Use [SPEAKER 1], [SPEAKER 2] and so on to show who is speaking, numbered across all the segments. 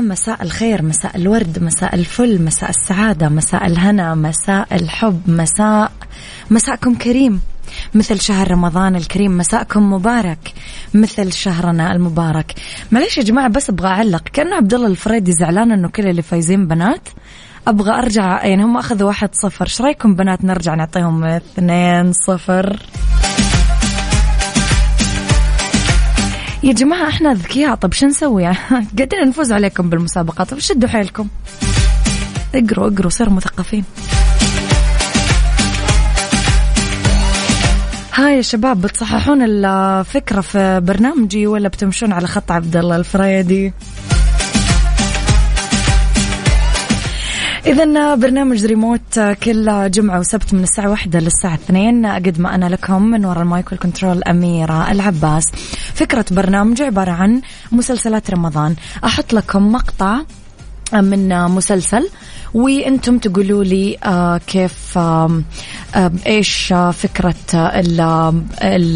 [SPEAKER 1] مساء الخير مساء الورد مساء الفل مساء السعادة مساء الهنا مساء الحب مساء مساءكم كريم مثل شهر رمضان الكريم مساءكم مبارك مثل شهرنا المبارك معليش يا جماعة بس أبغى أعلق كأنه عبد الله الفريدي زعلان أنه كل اللي فايزين بنات أبغى أرجع يعني هم أخذوا واحد صفر شو رأيكم بنات نرجع نعطيهم اثنين صفر يا جماعة احنا أذكياء طب شو نسوي قدرنا نفوز عليكم بالمسابقة طب شدوا حيلكم اقروا اقروا صيروا مثقفين هاي يا شباب بتصححون الفكرة في برنامجي ولا بتمشون على خط عبد الله الفريدي؟ إذا برنامج ريموت كل جمعة وسبت من الساعة واحدة للساعة اثنين أقدم أنا لكم من وراء المايك والكنترول أميرة العباس فكرة برنامج عبارة عن مسلسلات رمضان أحط لكم مقطع من مسلسل وانتم تقولوا لي آه، كيف آم، آم، ايش آه، فكره آه، ال-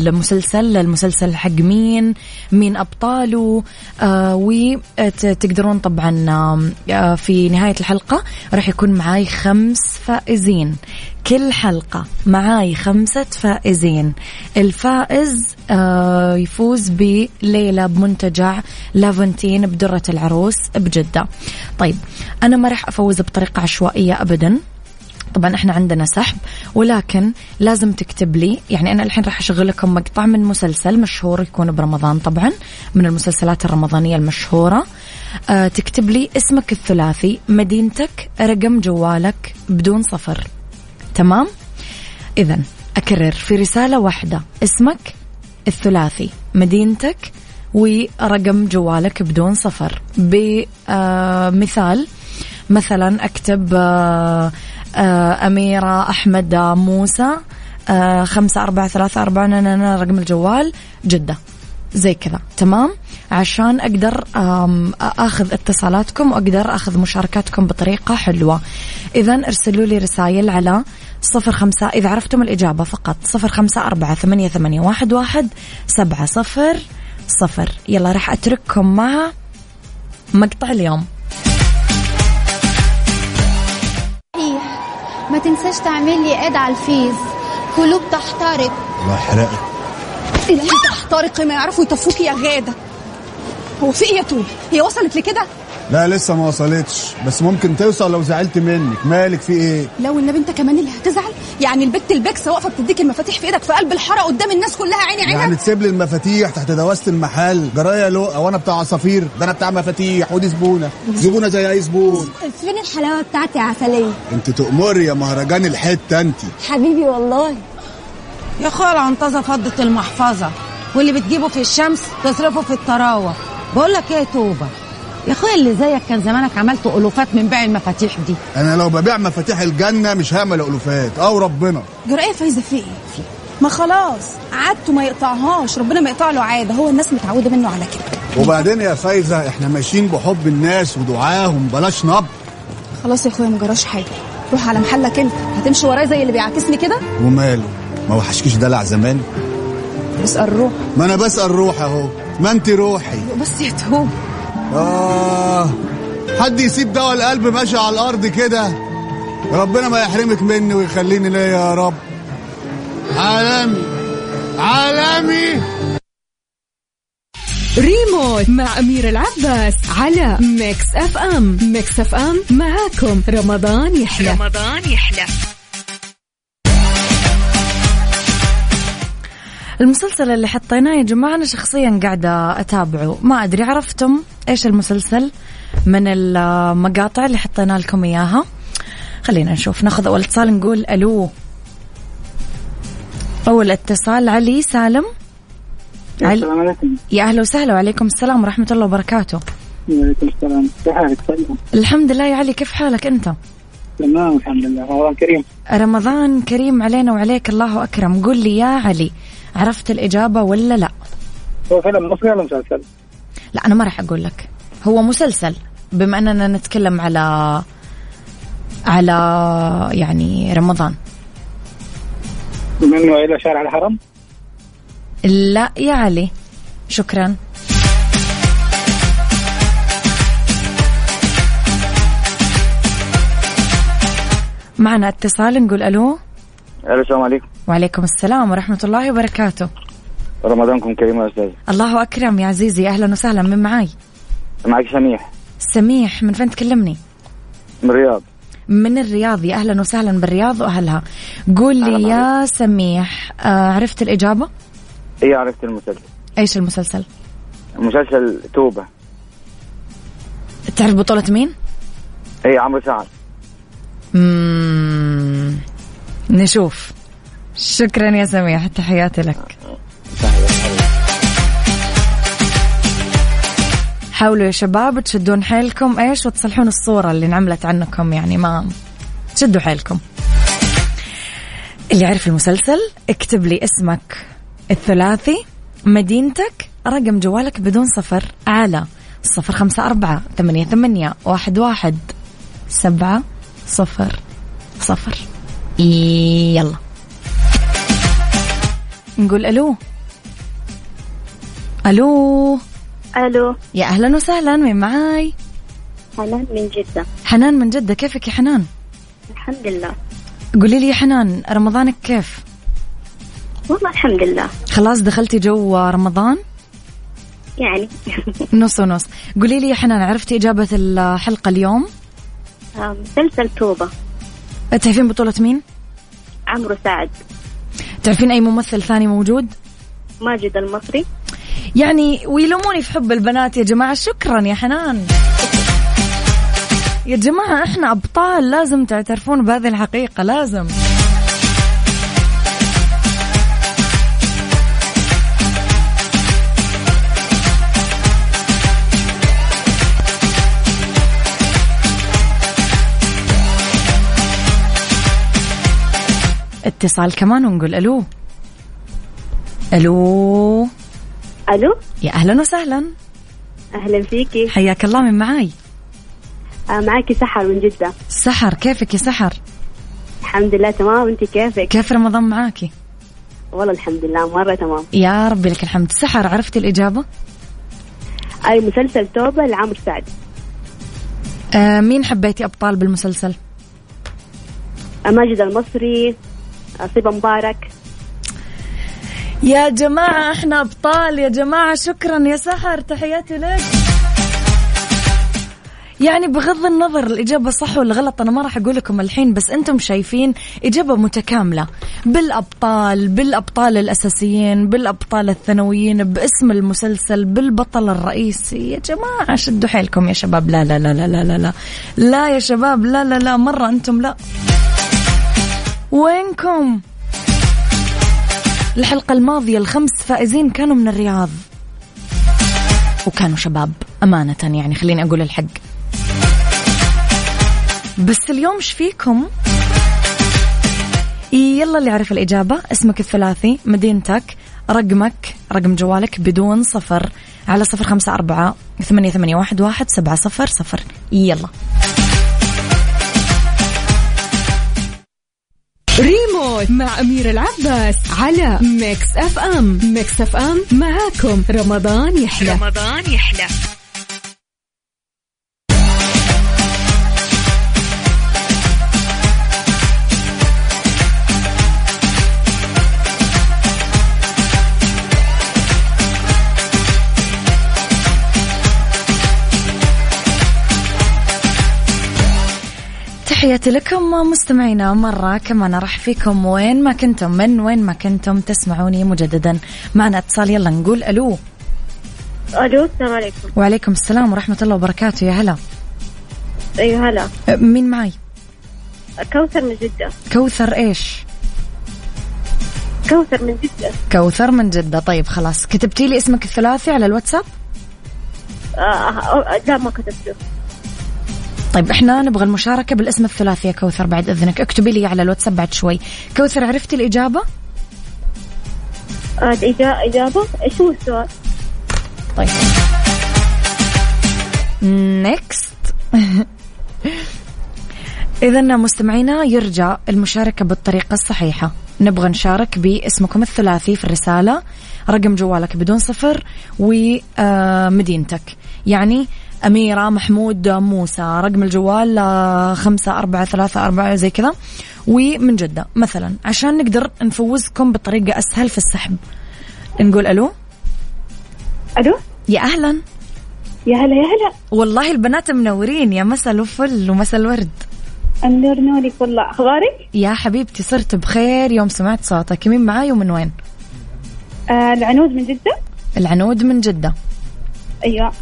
[SPEAKER 1] المسلسل المسلسل حق مين مين ابطاله آه، وتقدرون طبعا آم، آه، في نهايه الحلقه راح يكون معاي خمس فائزين كل حلقه معاي خمسه فائزين الفائز آه، يفوز بليله بمنتجع لافنتين بدره العروس بجده طيب انا ما راح افوز بطريقه عشوائيه ابدا طبعا احنا عندنا سحب ولكن لازم تكتب لي يعني انا الحين راح اشغل لكم مقطع من مسلسل مشهور يكون برمضان طبعا من المسلسلات الرمضانيه المشهوره آه تكتب لي اسمك الثلاثي مدينتك رقم جوالك بدون صفر تمام اذا اكرر في رساله واحده اسمك الثلاثي مدينتك ورقم جوالك بدون صفر آه، بمثال مثلا اكتب آه، آه، اميره احمد موسى آه، خمسة أربعة ثلاثة أربعة نانا رقم الجوال جدة زي كذا تمام عشان أقدر آم، أخذ اتصالاتكم وأقدر أخذ مشاركاتكم بطريقة حلوة إذا ارسلوا لي رسائل على صفر خمسة إذا عرفتم الإجابة فقط صفر خمسة أربعة ثمانية ثمانية واحد واحد سبعة صفر صفر يلا راح أترككم مع مقطع اليوم
[SPEAKER 2] صحيح ما تنساش تعمل لي اد على الفيس قلوب تحترق
[SPEAKER 3] الله حرقت
[SPEAKER 4] اللي تحترق ما يعرفوا يطفوكي يا غاده هو في ايه يا طول هي وصلت لكده
[SPEAKER 3] لا لسه ما وصلتش بس ممكن توصل لو زعلت منك مالك في ايه
[SPEAKER 4] لو النبي انت كمان اللي هتزعل يعني البت البكسه واقفه بتديك المفاتيح في ايدك في قلب الحاره قدام الناس كلها عيني عينك
[SPEAKER 3] يعني تسيب لي المفاتيح تحت دواسه المحل جرايه لو وانا بتاع عصافير ده انا بتاع مفاتيح ودي زبونه زبونه زي اي زبون
[SPEAKER 2] فين الحلاوه بتاعتي يا عسليه
[SPEAKER 3] انت تؤمري يا مهرجان الحته انت
[SPEAKER 2] حبيبي والله
[SPEAKER 5] يا خال عنطزه فضة المحفظة واللي بتجيبه في الشمس تصرفه في الطراوة بقول لك ايه يا توبة يا اخويا اللي زيك كان زمانك عملت ألوفات من بيع المفاتيح دي
[SPEAKER 3] انا لو ببيع مفاتيح الجنه مش هعمل الوفات او ربنا
[SPEAKER 4] جرايه فايزه إيه في ايه ما خلاص عادته ما يقطعهاش ربنا ما يقطع له عاده هو الناس متعوده منه على كده
[SPEAKER 3] وبعدين يا فايزه احنا ماشيين بحب الناس ودعاهم بلاش نبض
[SPEAKER 4] خلاص يا اخويا ما جراش حاجه روح على محلك انت هتمشي ورايا زي اللي بيعاكسني كده
[SPEAKER 3] وماله ما وحشكيش دلع زمان
[SPEAKER 4] اسال روح
[SPEAKER 3] ما انا بسال روح اهو ما انت روحي
[SPEAKER 4] بس يا توب
[SPEAKER 3] آه حد يسيب دواء القلب ماشي على الأرض كده ربنا ما يحرمك مني ويخليني ليا يا رب عالمي عالمي
[SPEAKER 6] ريموت مع أمير العباس على ميكس أف أم ميكس أف أم معاكم رمضان يحلى
[SPEAKER 7] رمضان يحلى
[SPEAKER 1] المسلسل اللي حطيناه يا جماعة أنا شخصيا قاعدة أتابعه ما أدري عرفتم إيش المسلسل من المقاطع اللي حطينا لكم إياها خلينا نشوف ناخذ أول اتصال نقول ألو أول اتصال علي سالم علي
[SPEAKER 8] السلام عليكم
[SPEAKER 1] يا أهلا وسهلا وعليكم السلام ورحمة الله وبركاته
[SPEAKER 8] وعليكم السلام كيف حالك طيب
[SPEAKER 1] الحمد لله يا علي كيف حالك أنت؟
[SPEAKER 8] تمام الحمد لله رمضان كريم
[SPEAKER 1] رمضان كريم علينا وعليك الله أكرم قل لي يا علي عرفت الإجابة ولا لا
[SPEAKER 8] هو فيلم مصري ولا مسلسل؟
[SPEAKER 1] لا أنا ما راح أقول لك هو مسلسل بما أننا نتكلم على على يعني رمضان
[SPEAKER 8] بما انه الى شارع الحرم
[SPEAKER 1] لا يا علي شكرا معنا اتصال نقول الو
[SPEAKER 8] الو السلام عليكم
[SPEAKER 1] وعليكم السلام ورحمه الله وبركاته
[SPEAKER 8] رمضانكم كريم يا استاذ
[SPEAKER 1] الله اكرم يا عزيزي اهلا وسهلا من معاي
[SPEAKER 8] معاك سميح
[SPEAKER 1] سميح من فين تكلمني
[SPEAKER 8] من الرياض
[SPEAKER 1] من الرياض يا اهلا وسهلا بالرياض واهلها قول لي
[SPEAKER 8] أهلا
[SPEAKER 1] يا سميح آه، عرفت الاجابه
[SPEAKER 8] ايه عرفت المسلسل
[SPEAKER 1] ايش المسلسل
[SPEAKER 8] مسلسل توبه
[SPEAKER 1] تعرف بطوله مين
[SPEAKER 8] ايه عمرو سعد
[SPEAKER 1] مم. نشوف شكرا يا سميح تحياتي لك حاولوا يا شباب تشدون حيلكم ايش وتصلحون الصورة اللي انعملت عنكم يعني ما تشدوا حيلكم اللي عرف المسلسل اكتب لي اسمك الثلاثي مدينتك رقم جوالك بدون صفر على صفر خمسة أربعة ثمانية ثمانية واحد واحد سبعة صفر صفر يلا نقول ألو ألو
[SPEAKER 7] الو
[SPEAKER 1] يا أهلا وسهلا مين معاي
[SPEAKER 7] حنان من جدة
[SPEAKER 1] حنان من جدة كيفك يا حنان
[SPEAKER 7] الحمد لله
[SPEAKER 1] قولي لي يا حنان رمضانك كيف
[SPEAKER 7] والله الحمد لله
[SPEAKER 1] خلاص دخلتي جو رمضان
[SPEAKER 7] يعني
[SPEAKER 1] نص ونص قولي لي يا حنان عرفتي إجابة الحلقة اليوم
[SPEAKER 7] آه، مسلسل توبة
[SPEAKER 1] تعرفين بطولة مين
[SPEAKER 7] عمرو سعد
[SPEAKER 1] تعرفين أي ممثل ثاني موجود
[SPEAKER 7] ماجد المصري
[SPEAKER 1] يعني ويلوموني في حب البنات يا جماعة شكرا يا حنان يا جماعة احنا أبطال لازم تعترفون بهذه الحقيقة لازم اتصال كمان ونقول الو الو
[SPEAKER 7] الو
[SPEAKER 1] يا اهلا وسهلا
[SPEAKER 7] اهلا فيكي
[SPEAKER 1] حياك الله من معاي
[SPEAKER 7] آه، معاكي سحر من جدة
[SPEAKER 1] سحر كيفك يا سحر
[SPEAKER 7] الحمد لله تمام انت كيفك
[SPEAKER 1] كيف رمضان معاكي
[SPEAKER 7] والله الحمد لله مرة تمام
[SPEAKER 1] يا ربي لك الحمد سحر عرفتي الإجابة
[SPEAKER 7] اي مسلسل توبة لعمرو سعد
[SPEAKER 1] آه مين حبيتي أبطال بالمسلسل
[SPEAKER 7] آه، ماجد المصري آه، صبا مبارك
[SPEAKER 1] يا جماعة احنا أبطال يا جماعة شكرا يا سحر تحياتي لك يعني بغض النظر الإجابة صح ولا غلط أنا ما راح أقول لكم الحين بس أنتم شايفين إجابة متكاملة بالأبطال بالأبطال الأساسيين بالأبطال الثانويين باسم المسلسل بالبطل الرئيسي يا جماعة شدوا حيلكم يا شباب لا لا لا لا لا لا لا لا يا شباب لا لا لا مرة أنتم لا وينكم؟ الحلقة الماضية الخمس فائزين كانوا من الرياض وكانوا شباب أمانة يعني خليني أقول الحق بس اليوم ايش فيكم؟ يلا اللي عرف الإجابة اسمك الثلاثي مدينتك رقمك رقم جوالك بدون صفر على صفر خمسة أربعة ثمانية ثمانية واحد واحد سبعة صفر صفر يلا
[SPEAKER 6] ريموت مع أمير العباس على ميكس أف أم ميكس أف أم معاكم رمضان يحلى رمضان يحلى
[SPEAKER 1] تحياتي لكم مستمعينا مرة كمان راح فيكم وين ما كنتم من وين ما كنتم تسمعوني مجددا معنا اتصال يلا نقول ألو
[SPEAKER 7] الو السلام عليكم
[SPEAKER 1] وعليكم السلام ورحمة الله وبركاته يا هلا
[SPEAKER 7] ايوه هلا
[SPEAKER 1] أه، مين معي
[SPEAKER 7] كوثر من جدة
[SPEAKER 1] كوثر إيش
[SPEAKER 7] كوثر من جدة
[SPEAKER 1] كوثر من جدة طيب خلاص كتبتي لي اسمك الثلاثي على الواتساب
[SPEAKER 7] آه، لا ما كتبته
[SPEAKER 1] طيب احنا نبغى المشاركة بالاسم الثلاثي يا كوثر بعد إذنك اكتبي لي على الواتساب بعد شوي كوثر عرفتي الإجابة
[SPEAKER 7] آه، إجابة إيش هو السؤال؟
[SPEAKER 1] طيب نيكست إذا مستمعينا يرجى المشاركة بالطريقة الصحيحة نبغى نشارك باسمكم الثلاثي في الرسالة رقم جوالك بدون صفر ومدينتك آه، يعني أميرة محمود موسى رقم الجوال آه، خمسة أربعة ثلاثة أربعة زي كذا ومن جدة مثلا عشان نقدر نفوزكم بطريقة أسهل في السحب نقول ألو
[SPEAKER 7] الو
[SPEAKER 1] يا أهلا
[SPEAKER 7] يا هلا يا هلا
[SPEAKER 1] والله البنات منورين يا مساء الفل ومساء الورد
[SPEAKER 7] انور نورك والله اخبارك؟
[SPEAKER 1] يا حبيبتي صرت بخير يوم سمعت صوتك مين معاي ومن وين
[SPEAKER 7] آه العنود من جده؟
[SPEAKER 1] العنود من جدة
[SPEAKER 7] ايوه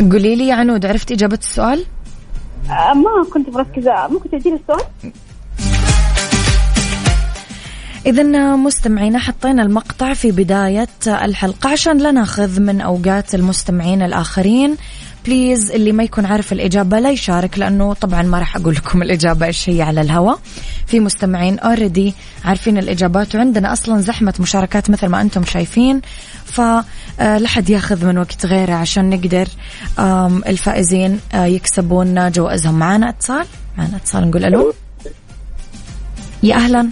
[SPEAKER 1] قولي لي يا عنود عرفت إجابة السؤال
[SPEAKER 7] آه ما كنت مركزه ممكن تديني السؤال؟
[SPEAKER 1] إذا مستمعينا حطينا المقطع في بداية الحلقة عشان لا ناخذ من أوقات المستمعين الآخرين بليز اللي ما يكون عارف الإجابة لا يشارك لأنه طبعا ما راح أقول لكم الإجابة إيش هي على الهواء في مستمعين اوريدي عارفين الإجابات وعندنا أصلا زحمة مشاركات مثل ما أنتم شايفين فلا حد ياخذ من وقت غيره عشان نقدر آم، الفائزين آه، يكسبون جوائزهم معانا اتصال معانا اتصال نقول ألو يا أهلا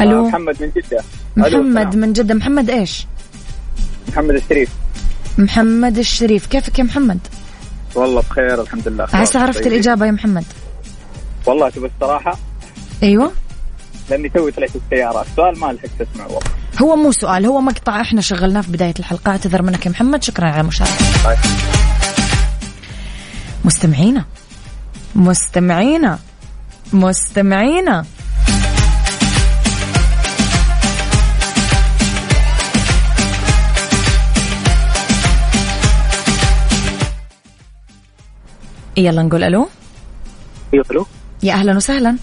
[SPEAKER 1] ألو
[SPEAKER 8] آه، محمد من جده ألو،
[SPEAKER 1] محمد
[SPEAKER 8] سلام.
[SPEAKER 1] من جدة محمد إيش
[SPEAKER 8] محمد الشريف
[SPEAKER 1] محمد الشريف كيفك يا محمد
[SPEAKER 8] والله بخير الحمد لله أخبارك
[SPEAKER 1] عسى عرفت
[SPEAKER 8] طيبة؟
[SPEAKER 1] الإجابة يا محمد
[SPEAKER 8] والله تبى الصراحه
[SPEAKER 1] أيوة
[SPEAKER 8] لاني توي طلعت السياره السؤال ما لحقت اسمعه والله
[SPEAKER 1] هو مو سؤال هو مقطع احنا شغلناه في بداية الحلقة اعتذر منك يا محمد شكرا على المشاركة
[SPEAKER 8] طيب.
[SPEAKER 1] مستمعينا مستمعينا مستمعينا يلا نقول الو
[SPEAKER 8] يقولوا
[SPEAKER 1] يا اهلا وسهلا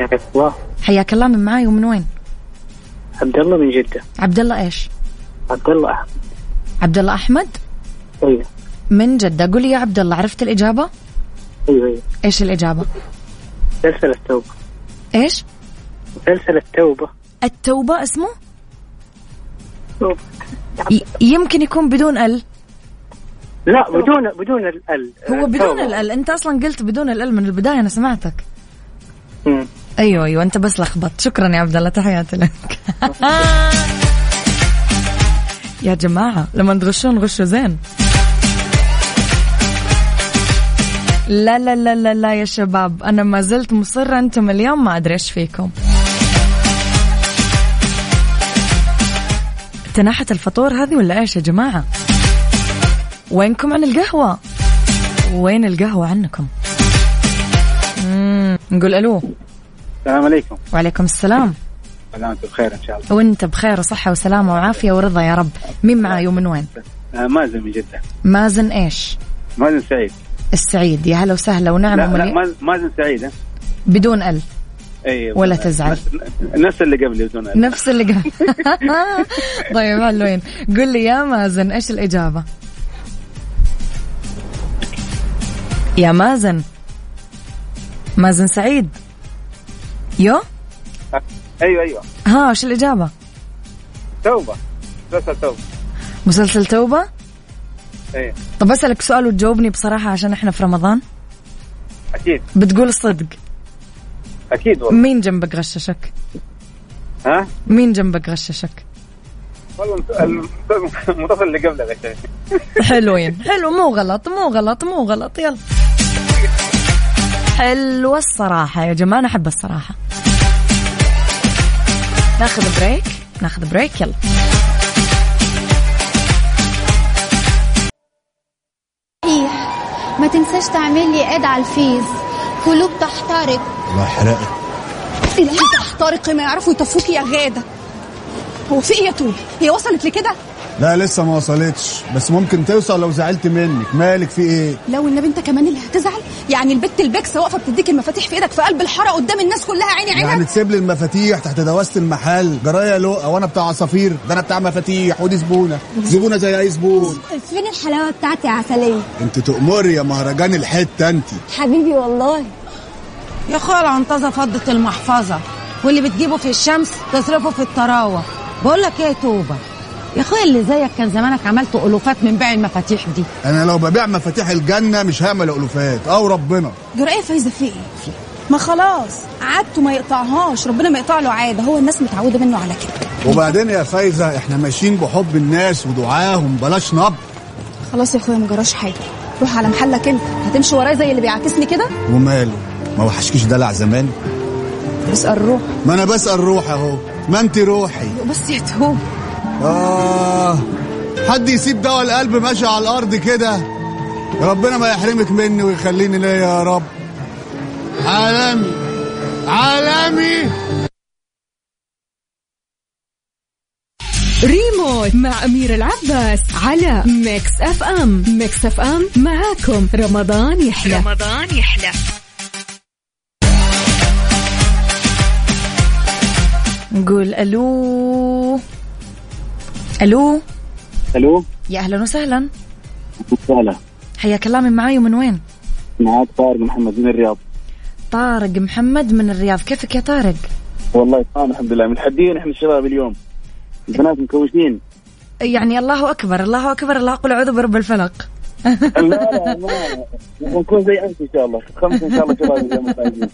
[SPEAKER 8] يا الله
[SPEAKER 1] حياك الله من معاي ومن وين
[SPEAKER 8] عبد الله من جده
[SPEAKER 1] عبد الله ايش
[SPEAKER 8] عبد الله
[SPEAKER 1] عبد الله احمد
[SPEAKER 8] ايوه
[SPEAKER 1] من جدة قولي يا عبد الله عرفت الإجابة؟
[SPEAKER 8] ايوه ايوه
[SPEAKER 1] إيش الإجابة؟
[SPEAKER 8] مسلسل التوبه
[SPEAKER 1] إيش؟
[SPEAKER 8] مسلسل التوبه
[SPEAKER 1] التوبة اسمه؟ ي- يمكن يكون بدون ال
[SPEAKER 8] لا بدون بدون ال
[SPEAKER 1] هو بدون ال أنت أصلا قلت بدون ال من البداية أنا سمعتك
[SPEAKER 8] مم.
[SPEAKER 1] أيوه أيوه أنت بس لخبطت شكرا يا عبد الله تحياتي لك يا جماعة لما تغشون غشوا زين لا لا لا لا لا يا شباب أنا ما زلت مصرة أنتم اليوم ما أدري إيش فيكم تناحة الفطور هذه ولا إيش يا جماعة وينكم عن القهوة وين القهوة عنكم مم. نقول ألو
[SPEAKER 8] السلام عليكم
[SPEAKER 1] وعليكم السلام
[SPEAKER 8] سلامتك بخير ان شاء الله
[SPEAKER 1] وانت بخير وصحة وسلامة وعافية ورضا يا رب مين معاي ومن وين
[SPEAKER 8] آه، مازن من جده
[SPEAKER 1] مازن ايش
[SPEAKER 8] مازن سعيد
[SPEAKER 1] السعيد يا هلا وسهلا ونعم
[SPEAKER 8] لا لا
[SPEAKER 1] ومليء.
[SPEAKER 8] مازن- مازن سعيد ها؟
[SPEAKER 1] بدون ال
[SPEAKER 8] اي
[SPEAKER 1] ولا تزعل.
[SPEAKER 8] نفس- نفس اللي قبلي بدون أدب.
[SPEAKER 1] نفس اللي قبل طيب حلوين قل لي يا مازن ايش الإجابة يا مازن مازن سعيد يو
[SPEAKER 8] ايوه ايوه
[SPEAKER 1] ها ايش الإجابة
[SPEAKER 8] توبه مسلسل توبه
[SPEAKER 1] مسلسل توبة
[SPEAKER 8] ايه
[SPEAKER 1] طب أسألك سؤال وتجاوبني بصراحة عشان احنا في رمضان
[SPEAKER 8] اكيد
[SPEAKER 1] بتقول الصدق
[SPEAKER 8] اكيد والله
[SPEAKER 1] مين جنبك غششك
[SPEAKER 8] ها
[SPEAKER 1] مين جنبك غششك
[SPEAKER 8] والله المسلسل المسلسل اللي قبله غشيت
[SPEAKER 1] حلوين حلو مو غلط مو غلط مو غلط يلا حلوة الصراحة يا جماعة أنا أحب الصراحة ناخذ بريك ناخذ بريك يلا
[SPEAKER 2] صحيح ما تنساش تعمل لي اد على الفيس قلوب تحترق
[SPEAKER 3] الله حرقت
[SPEAKER 4] العيد تحترق ما يعرفوا يطفوكي يا غاده هو في ايه يا طول هي وصلت لكده
[SPEAKER 3] لا لسه ما وصلتش بس ممكن توصل لو زعلت منك مالك في ايه
[SPEAKER 4] لو النبي انت كمان اللي هتزعل يعني البت البكسه واقفه بتديك المفاتيح في ايدك في قلب الحاره قدام الناس كلها عيني عينك
[SPEAKER 3] يعني تسيب لي المفاتيح تحت دواسة المحل جرايه لقه وانا بتاع عصافير ده انا بتاع مفاتيح ودي زبونه زبونه زي اي زبون
[SPEAKER 2] فين الحلاوه بتاعتي يا عسليه
[SPEAKER 3] انت تؤمري يا مهرجان الحته انت
[SPEAKER 2] حبيبي والله
[SPEAKER 5] يا خالة انتظى فضة المحفظة واللي بتجيبه في الشمس تصرفه في الطراوة بقول لك ايه يا توبة يا اخويا اللي زيك كان زمانك عملت ألوفات من بيع المفاتيح دي
[SPEAKER 3] انا لو ببيع مفاتيح الجنه مش هعمل الوفات او ربنا
[SPEAKER 4] جرأة فايزة في ايه؟ ما خلاص عادته ما يقطعهاش ربنا ما يقطع له عادة هو الناس متعودة منه على كده
[SPEAKER 3] وبعدين يا فايزه احنا ماشيين بحب الناس ودعاهم بلاش نبض
[SPEAKER 4] خلاص يا اخويا ما جراش حاجه روح على محلك انت هتمشي ورايا زي اللي بيعاكسني كده
[SPEAKER 3] وماله ما وحشكيش دلع زمان
[SPEAKER 4] اسال روح
[SPEAKER 3] ما انا بسأل روح اهو ما انت روحي
[SPEAKER 4] بس يا توب
[SPEAKER 3] آه حد يسيب دواء القلب ماشي على الأرض كده ربنا ما يحرمك مني ويخليني ليا يا رب عالمي عالمي
[SPEAKER 6] ريموت مع أمير العباس على ميكس أف أم ميكس أف أم معاكم رمضان يحلى رمضان يحلى
[SPEAKER 1] نقول الو الو
[SPEAKER 8] الو
[SPEAKER 1] يا اهلا وسهلا
[SPEAKER 8] وسهلا
[SPEAKER 1] حياك الله من معاي ومن وين؟
[SPEAKER 8] معاك طارق محمد من الرياض
[SPEAKER 1] طارق محمد من الرياض كيفك يا طارق؟
[SPEAKER 8] والله تمام الحمد لله متحدين احنا الشباب اليوم البنات مكوشين
[SPEAKER 1] يعني الله اكبر الله اكبر الله قل اعوذ برب الفلق
[SPEAKER 8] لا لا لا لا. نكون زي امس ان شاء الله خمسه ان شاء الله شباب اليوم الفايزين.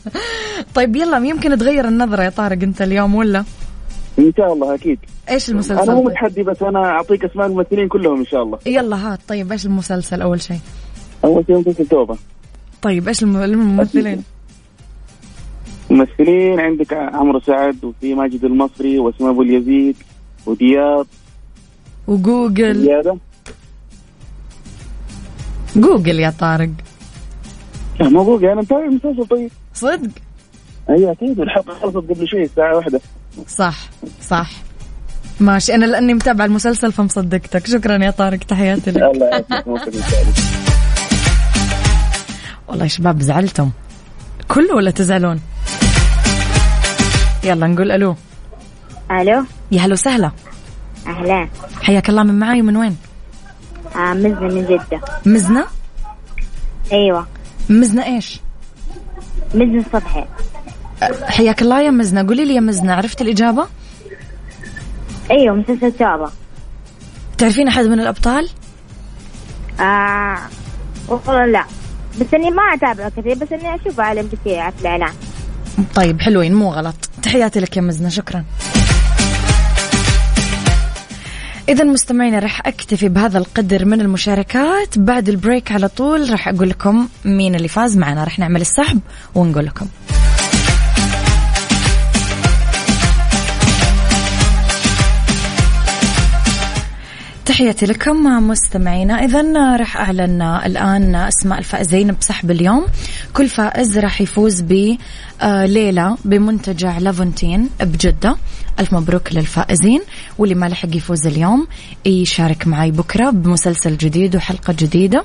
[SPEAKER 1] طيب يلا يمكن تغير النظرة يا طارق انت اليوم ولا؟
[SPEAKER 8] ان شاء الله اكيد
[SPEAKER 1] ايش
[SPEAKER 8] انا مو
[SPEAKER 1] المسلسل؟
[SPEAKER 8] متحدي بس انا اعطيك اسماء الممثلين كلهم ان شاء الله
[SPEAKER 1] يلا هات طيب ايش المسلسل اول شيء؟
[SPEAKER 8] اول شيء مسلسل توبه
[SPEAKER 1] طيب ايش الم- الممثلين؟
[SPEAKER 8] ممثلين عندك عمرو سعد وفي ماجد المصري واسماء ابو اليزيد ودياب
[SPEAKER 1] وجوجل
[SPEAKER 8] زياده
[SPEAKER 1] جوجل يا طارق
[SPEAKER 8] لا ما بقول انا متابع المسلسل طيب
[SPEAKER 1] صدق؟
[SPEAKER 8] اي اكيد الحلقه خلصت قبل شوي الساعه واحدة
[SPEAKER 1] صح صح ماشي انا لاني متابعه المسلسل فمصدقتك شكرا يا طارق تحياتي لك
[SPEAKER 8] الله يعافيك موفق ان شاء الله
[SPEAKER 1] والله يا شباب زعلتم كله ولا تزعلون يلا نقول الو
[SPEAKER 7] الو
[SPEAKER 1] يا هلا وسهلا
[SPEAKER 7] اهلا
[SPEAKER 1] حياك الله من معاي من وين
[SPEAKER 7] آه مزن من جده
[SPEAKER 1] مزنة
[SPEAKER 7] ايوه
[SPEAKER 1] مزنة ايش
[SPEAKER 7] مزن صبحي
[SPEAKER 1] أه، حياك الله يا مزنة قولي لي يا مزنة عرفت الإجابة
[SPEAKER 7] ايوه مسلسل توبه
[SPEAKER 1] تعرفين أحد من الأبطال
[SPEAKER 7] آه والله لا بس اني ما اتابعه كثير بس اني اشوفه على ام بي على الاعلان
[SPEAKER 1] طيب حلوين مو غلط تحياتي لك يا مزنة شكرا إذا مستمعينا راح أكتفي بهذا القدر من المشاركات بعد البريك على طول راح أقول لكم مين اللي فاز معنا راح نعمل السحب ونقول لكم تحياتي لكم مستمعينا اذا راح اعلن الان اسماء الفائزين بسحب اليوم كل فائز راح يفوز ب آه، ليله بمنتجع لافونتين بجده الف مبروك للفائزين واللي ما لحق يفوز اليوم يشارك معي بكره بمسلسل جديد وحلقه جديده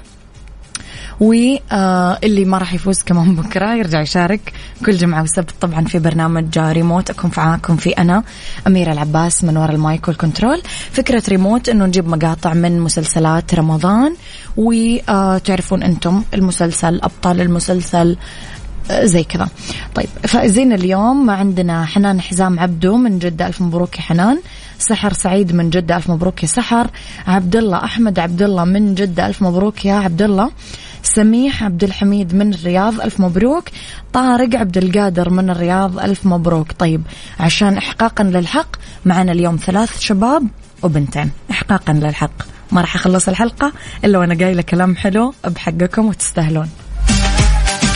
[SPEAKER 1] واللي آه، ما راح يفوز كمان بكره يرجع يشارك كل جمعه وسبت طبعا في برنامج ريموت اكون معاكم في انا اميره العباس من وراء المايك والكنترول فكره ريموت انه نجيب مقاطع من مسلسلات رمضان وتعرفون انتم المسلسل ابطال المسلسل آه، زي كذا طيب فائزين اليوم عندنا حنان حزام عبدو من جدة ألف مبروك يا حنان سحر سعيد من جدة ألف مبروك يا سحر عبد الله أحمد عبد الله من جدة ألف مبروك يا عبد الله سميح عبد الحميد من الرياض ألف مبروك طارق عبد القادر من الرياض ألف مبروك طيب عشان إحقاقا للحق معنا اليوم ثلاث شباب وبنتين إحقاقا للحق ما راح أخلص الحلقة إلا وأنا قايلة كلام حلو بحقكم وتستاهلون